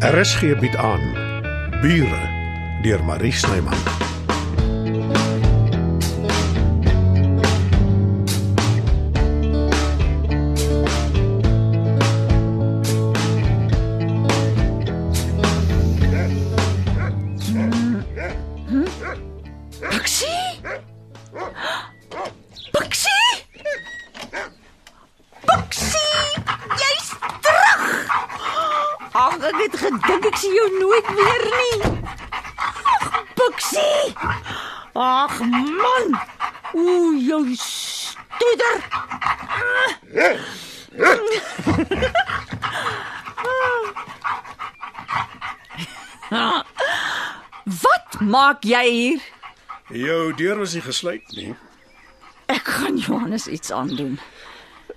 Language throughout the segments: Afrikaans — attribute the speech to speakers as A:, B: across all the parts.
A: RSG bied aan Bure deur Marie Snyman.
B: Pixie? Pixie? Pixie, jy's terug. Ag, ek het gedink ek sien jou nooit weer nie. Pixie. Ag man. Ooh, jou stoeder. Wat maak jy hier?
A: Jou deur was nie gesluit nie.
B: Ek gaan Johannes iets aandoen.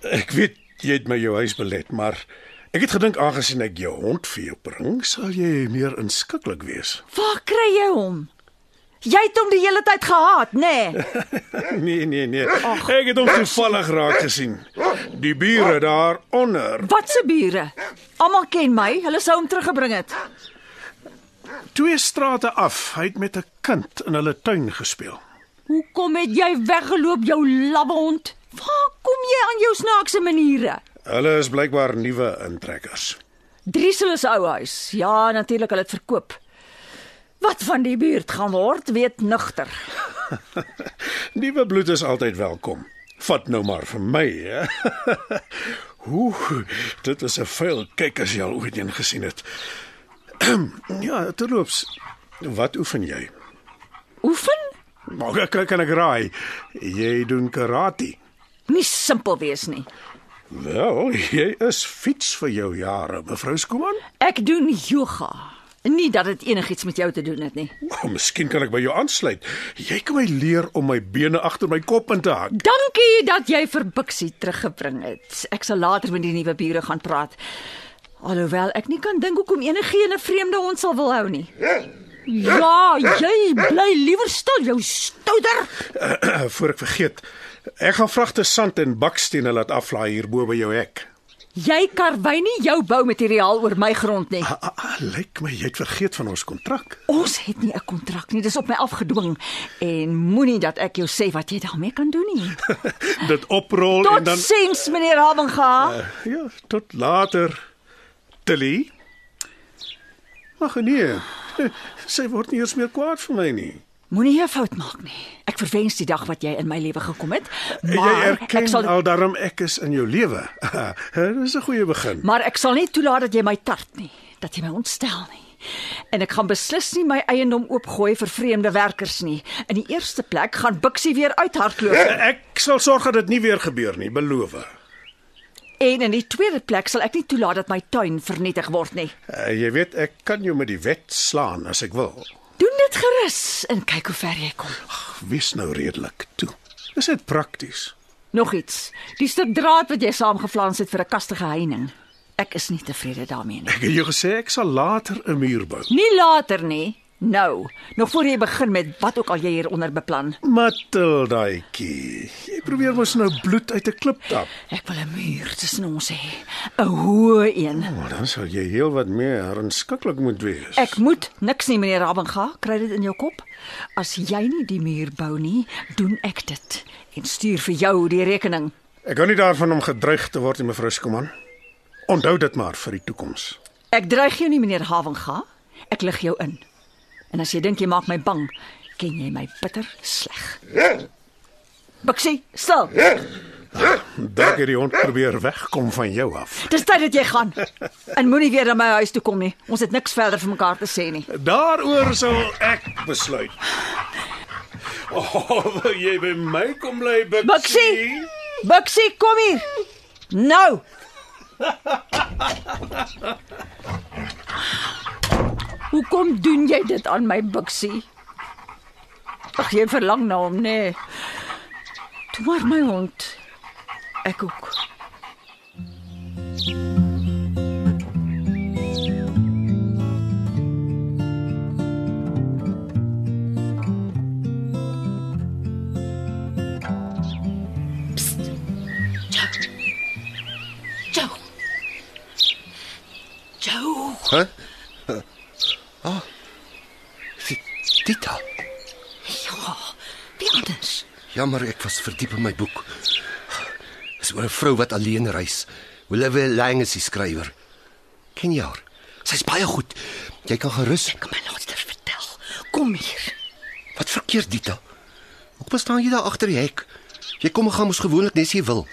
A: Ek weet jy het my jou huis belet, maar ek het gedink aangesien ek jou hond vir jou bring, sal jy meer inskikkelik wees.
B: Waar kry jy hom? Jy het hom die hele tyd gehaat, nê? Nee?
A: nee, nee, nee. Ek het hom toevallig raak gesien. Die bure daar onder,
B: Wat se bure? Almal ken my. Hulle sou hom teruggebring het.
A: twee strate af, hy het met 'n kind in hulle tuin gespeel.
B: Hoekom het jy weggeloop, jou labbe hond? Waar kom jy aan jou snaakse maniere?
A: Hulle is blykbaar nuwe intrekkers.
B: Driesel is ou huis. Ja, natuurlik hulle het verkoop. Wat van die buurt gaan word, weet nugter.
A: Nuwe bloed is altyd welkom. Vat nou maar vir my, hè. Ooh, dit is 'n vuil kyk as jy al ooit een gesien het. ja, terloops, wat oefen jy?
B: Oefen?
A: Maar kan, kan ek raai? Jy doen karate.
B: Nie simpel wees nie.
A: Wel, jy is fiets vir jou jare, mevrou Skuman.
B: Ek doen yoga. Nie dat dit enigiets met jou te doen het nie.
A: Oh, miskien kan ek by jou aansluit. Jy kan my leer om my bene agter my kop in te hak.
B: Dankie dat jy vir Bixie teruggebring het. Ek sal later met die nuwe bure gaan praat. Alhoewel ek nie kan dink hoekom enigeen 'n vreemde hond sal wil hou nie. Ja, jy bly liewer stil, jou stouder.
A: Voor ek vergeet, ek gaan vragte sand en bakstene laat aflaai hier bo by jou hek.
B: Jy karwei nie jou boumateriaal oor my grond nie.
A: Ah, ah, ah, Lyk my jy het vergeet van ons kontrak.
B: Ons het nie 'n kontrak nie, dis op my afgedwing en moenie dat ek jou sê wat jy daarmee kan doen nie.
A: Dit oprol en
B: Tot
A: dan
B: sins meneer Habenga.
A: ja, tot later. Tilly. Ag nee. Sy word nie eers meer kwaad vir my nie.
B: Moenie 'n fout maak nie. Ek verwens die dag wat jy in my lewe gekom het,
A: jy
B: maar
A: erken
B: ek sal
A: al daarom ek is in jou lewe. Dis 'n goeie begin.
B: maar ek sal nie toelaat dat jy my tart nie, dat jy my ontstel nie. En ek gaan beslis nie my eiendom oopgooi vir vreemde werkers nie. In die eerste plek gaan Bixie weer uithardloop
A: Ek sal sorg dat dit nie weer gebeur nie, beloof.
B: en in die tweede plek sal ek nie toelaat dat my tuin vernietig word nie.
A: Uh, jy weet ek kan jou met die wet slaan as ek wil.
B: Doen dit gerus en kyk hoe ver jy kom.
A: Wees nou redelik toe. Is dit prakties?
B: Nog iets. Die stuk draad wat jy saamgevlans het vir 'n kastige heining. Ek is nie tevrede daarmee nie.
A: Ek het jou gesê ek sal later 'n muur bou.
B: Nie later nie, nou, nog voor jy begin met wat ook al jy hieronder beplan.
A: Matildaatjie, jy probeer mos nou bloed uit 'n klip tap.
B: Ek wil 'n muur tussen ons hê, 'n hoë een.
A: Maar dan sal jy heelwat meer inskikkelik moet wees.
B: Ek moet niks nie, meneer Rabbenga, kry dit in jou kop. As jy nie die muur bou nie, doen ek dit en stuur vir jou die rekening.
A: ek hou nie daarvan om gedreig te word nie, mevrou Skuman. Onthou dit maar vir die toekoms.
B: Ek dreig jou nie, meneer Havenga. Ek lig jou in. En as jy dink jy maak my bang, ken jy my bitter sleg. Bixie, stil.
A: Dink jy die hond probeer wegkom van jou af?
B: Dis tyd dat jy gaan. En moenie weer na my huis toe kom nie. Ons het niks verder vir mekaar te sê nie.
A: Daaroor sal ek besluit. O, oh, wil jy by my kom bly, Bixie?
B: Bixie, Bixie, kom hier. Nou. Hoekom doen jy dit aan my Bixie? Ag, jy verlang na hom, nê? Nee. Toe maar my hond. Ek ook.
C: Joe. Joe. Joe.
A: Hæ?
C: Ah. Sit Tita.
D: Ja, wie anders?
C: Jammer, ek was verdiep in my boek. Dis oor 'n vrou wat alleen reis. Olivia Lang is die skrywer. Ken jy haar? Sy's baie goed. Jy kan gerus.
D: Kom my later vertel. Kom hier.
C: Wat verkeerd, Dita? Hoekom staan jy daar agter die hek? Jy kom en gaan mos gewoonlik net as jy wil.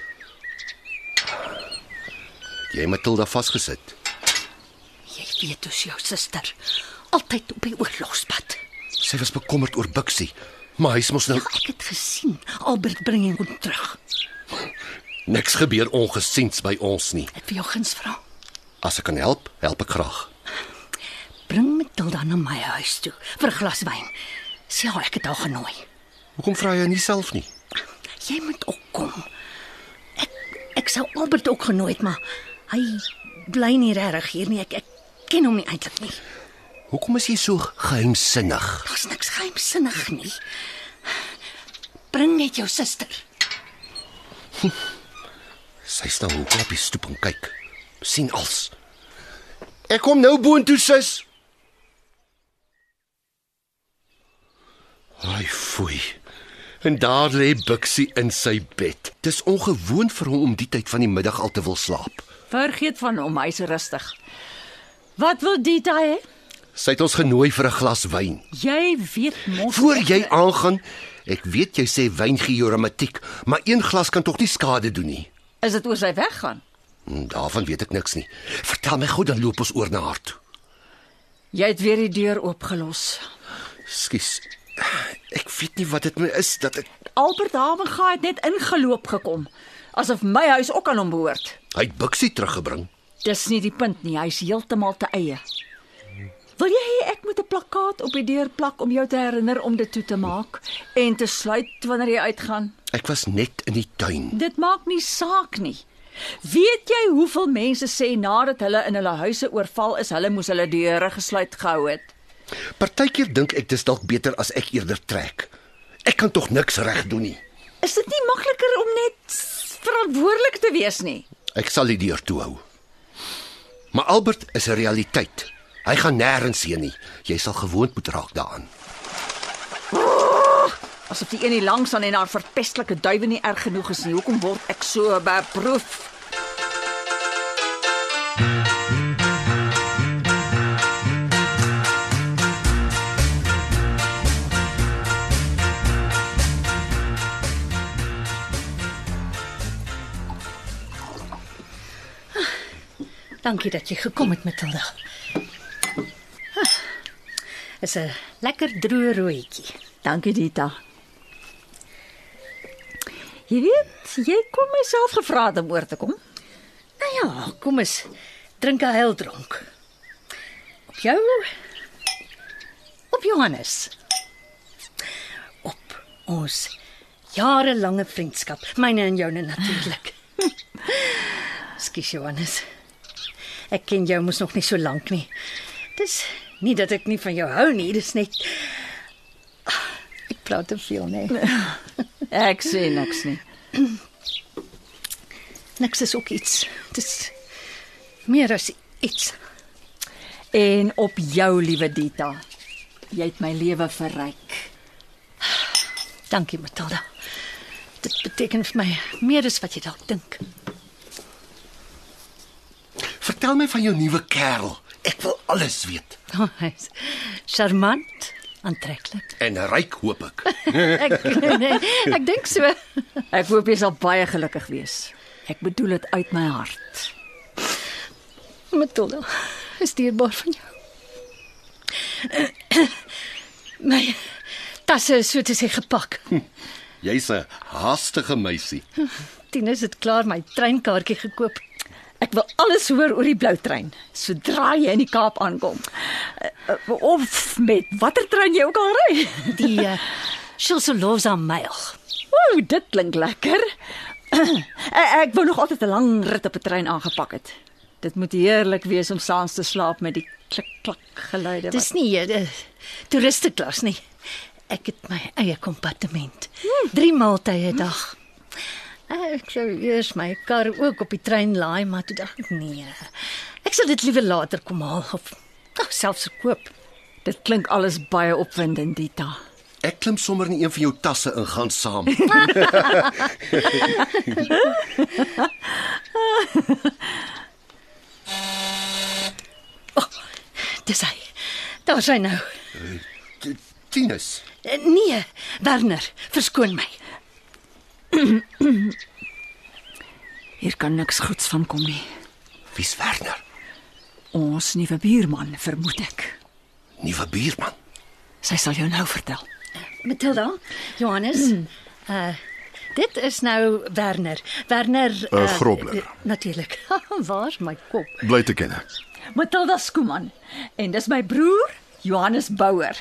C: Jy het Matilda vasgesit.
D: Jy weet hoe jou suster altyd op die oorlogspad.
C: Sy was bekommerd oor Bixie, maar hy's mos nou
D: Ek het gesien Albert bring hom terug.
C: niks gebeur ongesiens by ons nie.
D: Ek vir jou guns vra.
C: As ek kan help, help ek graag.
D: Bring Matilda na my huis toe vir 'n glas wyn. Sê haar ek het haar genooi.
C: Hoekom vra jy nie self nie?
D: Jy moet ook kom. Ek ek sou Albert ook genooi het, maar hy bly nie regtig hier nie. Ek ek ken hom nie eintlik nie.
C: Hoekom is jy so geheimsinnig?
D: Daar's niks geheimsinnig nie. Bring net jou suster.
C: Sy staan hoekom op die stoep en kyk. sien als. Ek kom nou boontoe, sis. Ai, foei. En daar lê Bixie in sy bed. Dis ongewoon vir hom om die tyd van die middag al te wil slaap.
B: Vergeet van hom, hy's rustig. Wat wil Dita hê?
C: Sy het ons genooi vir 'n glas wyn.
B: Jy weet mos
C: Voor jy aangaan, ek weet jy sê wyn gee jou reumatiek, maar een glas kan tog nie skade doen nie.
B: is dit oor sy weggaan.
C: Hm, Daarvan weet ek niks nie. Vertel my gou dan loop ons oor na haar toe.
B: Jy het weer die deur oopgelos.
C: Skus. Ek weet nie wat dit my is dat ek
B: Albert Havenga het net ingeloop gekom, asof my huis ook aan hom behoort.
C: hy Bixie teruggebring.
B: Dis nie die punt nie, hy's heeltemal te eie. Wil jy hê ek moet 'n plakkaat op die deur plak om jou te herinner om dit toe te maak en te sluit wanneer jy uitgaan?
C: Ek was net in die tuin.
B: Dit maak nie saak nie. Weet jy hoeveel mense sê nadat hulle in hulle huise oorval is, hulle moes hulle deure gesluit gehou het?
C: Partykeer dink ek dis dalk beter as ek eerder trek. Ek kan tog niks reg doen nie.
B: Is dit nie makliker om net verantwoordelik te wees nie?
C: Ek sal die deur toe hou. Maar Albert is 'n realiteit. Hy gaan nêrens heen nie. Jy sal gewoond moet raak daaraan.
B: Asof die een hier langs aan en haar verpestelike duiwe nie erg genoeg is nie. Hoekom word ek so beproef?
D: Dankie dat jy gekom het, Matilda. Ah, Is 'n lekker droë rooitjie.
B: Dankie Dita. Jy weet, jy kon myself gevra het om oor te kom.
D: Nou ja, kom eens. Drink 'n heildronk. Op jou. Op Johannes. Op ons jarelange vriendskap, myne en joune natuurlik. Skus Johannes. Ek ken jou mos nog nie so lank nie. Dis nie dat ek nie van jou hou nie, dis net Ah, ek praat te veel, nee.
B: Ek sê niks nie.
D: Niks is ook iets. Dis meer as iets.
B: En op jou, liewe Dita. Jy het my lewe verryk.
D: Dankie Matilda. Dit beteken vir my meer as wat jy dalk dink.
C: Vertel my van jou nuwe kerel. Ek wil alles weet.
D: Oh, hy's charmant, aantreklik.
C: En ryk hoop ek.
D: Ek nee, ek dink so.
B: Ek hoop jy sal baie gelukkig wees. Ek bedoel dit uit my hart.
D: Matilda, is dierbaar van jou. My tasse is so te sê gepak.
C: Jy's 'n haastige meisie.
D: Tien is dit klaar my treinkaartjie gekoop.
B: Ek wil alles hoor oor die blou trein sodra jy in die Kaap aankom. Eh, eh, Of met watter trein jy ook al ry.
D: Die uh, Shilsolovza mail.
B: Ooh, dit klink lekker. Eh, ek wou nog altyd 'n lang rit op 'n trein aangepak het. Dit moet heerlik wees om saans te slaap met die klik klak geluide.
D: Dis nie uh, toeriste klas nie. Ek het my eie kompartement. 3 maaltye 'n dag. Hmm. Eh, Ek sou eers my kar ook op die trein laai, maar toe dink ek nee. Ek sal dit liewer later kom haal of oh, selfs verkoop.
B: Dit klink alles baie opwindend, Dita.
C: Ek klim sommer in een van jou tasse en gaan saam.
D: Dis hy. Daar's hy nou.
C: T- Tinus.
D: Eh, Nee, Werner, verskoon my.
B: Hier kan niks goeds van kom nie.
C: Wie's Werner?
B: Ons nuwe buurman, vermoed ek.
C: Nuwe buurman.
B: Sy sal jou nou vertel.
D: Matilda, Johannes. Uh dit is nou Werner. Werner
E: Eh, Grobler.
D: eh, Natuurlik. Waar's my kop?
E: Bly te ken.
B: Matilda Skuman en dis my broer Johannes Bouwer.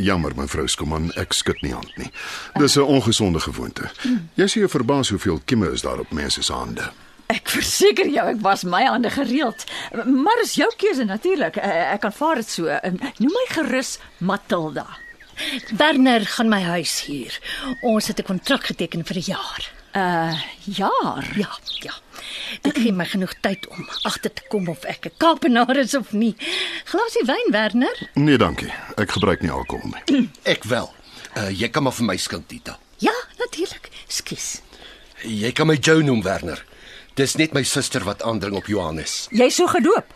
E: Jammer mevrou Skuman, ek skud nie hand nie. Dis 'n ongesonde gewoonte. Jy sien jou verbaas hoeveel kimme is daar op mense se hande.
B: Ek verseker jou, ek was my hande gereeld. Maar is jou keuse natuurlik. Eh, Ek aanvaar dit so. Eh, Noem my gerus Matilda.
D: Werner gaan my huis huur. Ons het 'n kontrak geteken vir 'n jaar.
B: Uh jaar.
D: Ja, ja. Dit gee my genoeg tyd om agter te kom of ek 'n Kaapenaar is of nie. Glasie wyn, Werner?
E: Nee, dankie. Ek gebruik nie alkohol nie.
C: Ek wel. Uh, jy kan maar vir my skink, Tita.
D: Ja, natuurlik. Skus.
C: Jy kan my Joe noem, Werner. Dis net my suster wat aandring op Johannes.
B: Jy so gedoop.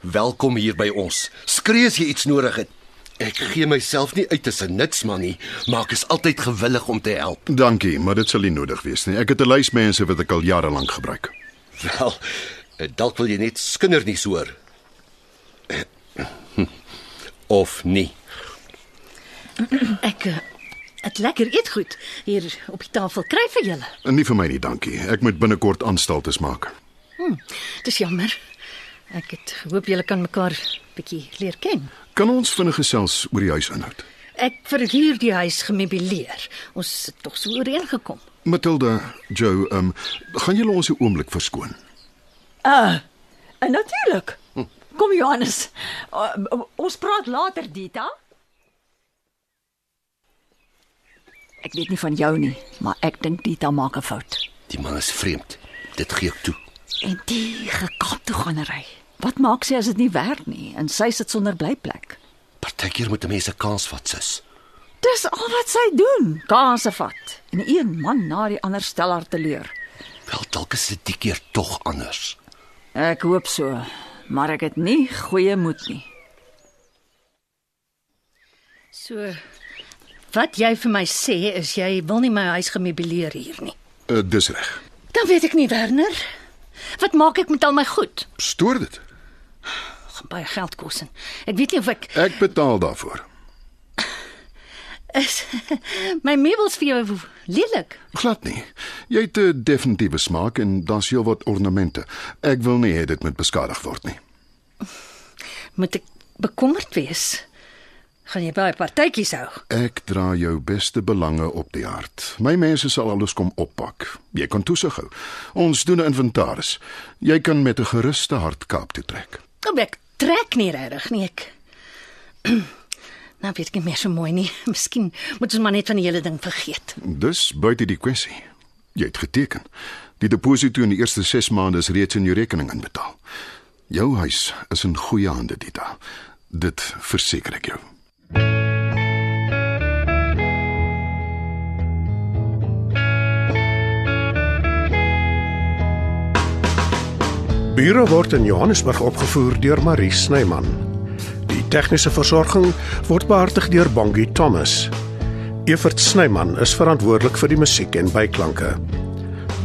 C: Welkom hier by ons. Skree as jy iets nodig het. Ek gee myself nie uit as 'n nitsman nie, maar ek is altyd gewillig om te help.
E: Dankie, maar dit sal nie nodig wees nie. Ek het 'n lys mense wat ek al jare lank gebruik.
C: Wel, eh, dalk wil jy net skinder nie hoor. Eh, hm. Of nie.
D: Ek eh, het lekker eetgoed hier op die tafel kry vir julle.
E: En nie vir my nie, dankie. Ek moet binnekort aanstaltes maak.
D: Dis jammer. Ek het gehoop julle kan mekaar bietjie leer ken.
E: Kan ons vinnig gesels oor die huisinhoud?
D: Ek verhuur die huis gemeubileer. Ons het tog so ooreengekom.
E: Matilda, Joe, ehm um, gaan julle ons 'n oomblik verskoon?
B: En natuurlik. Kom Johannes. Uh, ons praat later, Dita. Ek weet nie van jou nie, maar ek dink Dita maak 'n fout.
C: Die man is vreemd. Dit gee ek toe.
B: En die gekaap toe gaan ry. Wat maak sy as dit nie werk nie en sy sit sonder blyplek?
C: Partykeer moet 'n mens 'n kans vat, sus.
B: Dis al wat sy doen. Kase vat. En een man na die ander stel haar teleur.
C: Wel, dalk is dit die keer tog anders.
B: Ek hoop so, maar ek het nie goeie moed nie.
D: So wat jy vir my sê is jy wil nie my huis gemeubileer hier nie.
E: Uh, dis reg.
D: Dan weet ek nie, Werner. Wat maak ek met al my goed?
E: Stoor dit.
D: Gaan baie geld kos en ek weet nie of ek
E: Ek betaal daarvoor.
D: is my meubels vir jou lelik.
E: Glad nie. Jy het 'n definitiewe smaak en daar's heelwat ornamente. Ek wil nie hê dit moet beskadig word nie.
D: Moet ek bekommerd wees? Gaan jy baie partytjies hou?
E: Ek dra jou beste belange op die hart. My mense sal alles kom oppak. Jy kan toesig hou. Ons doen 'n inventaris. Jy kan met 'n geruste hart Kaap toe trek.
D: Kom ek trek nie regtig nie ek. nou weet ek nie meer so mooi nie. Miskien moet ons maar net van die hele ding vergeet.
E: Dus buite die kwessie. Jy het geteken. Die deposito in die eerste 6 maande is reeds in jou rekening inbetaal. Jou huis is in goeie hande, Dita. Dit verseker ek jou.
A: Bure word in Johannesburg opgevoer deur Marie Snyman. Die tegniese versorging word behartig deur Bongie Thomas. Evert Snyman is verantwoordelik vir die musiek en byklanke.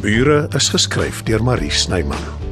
A: Bure is geskryf deur Marie Snyman.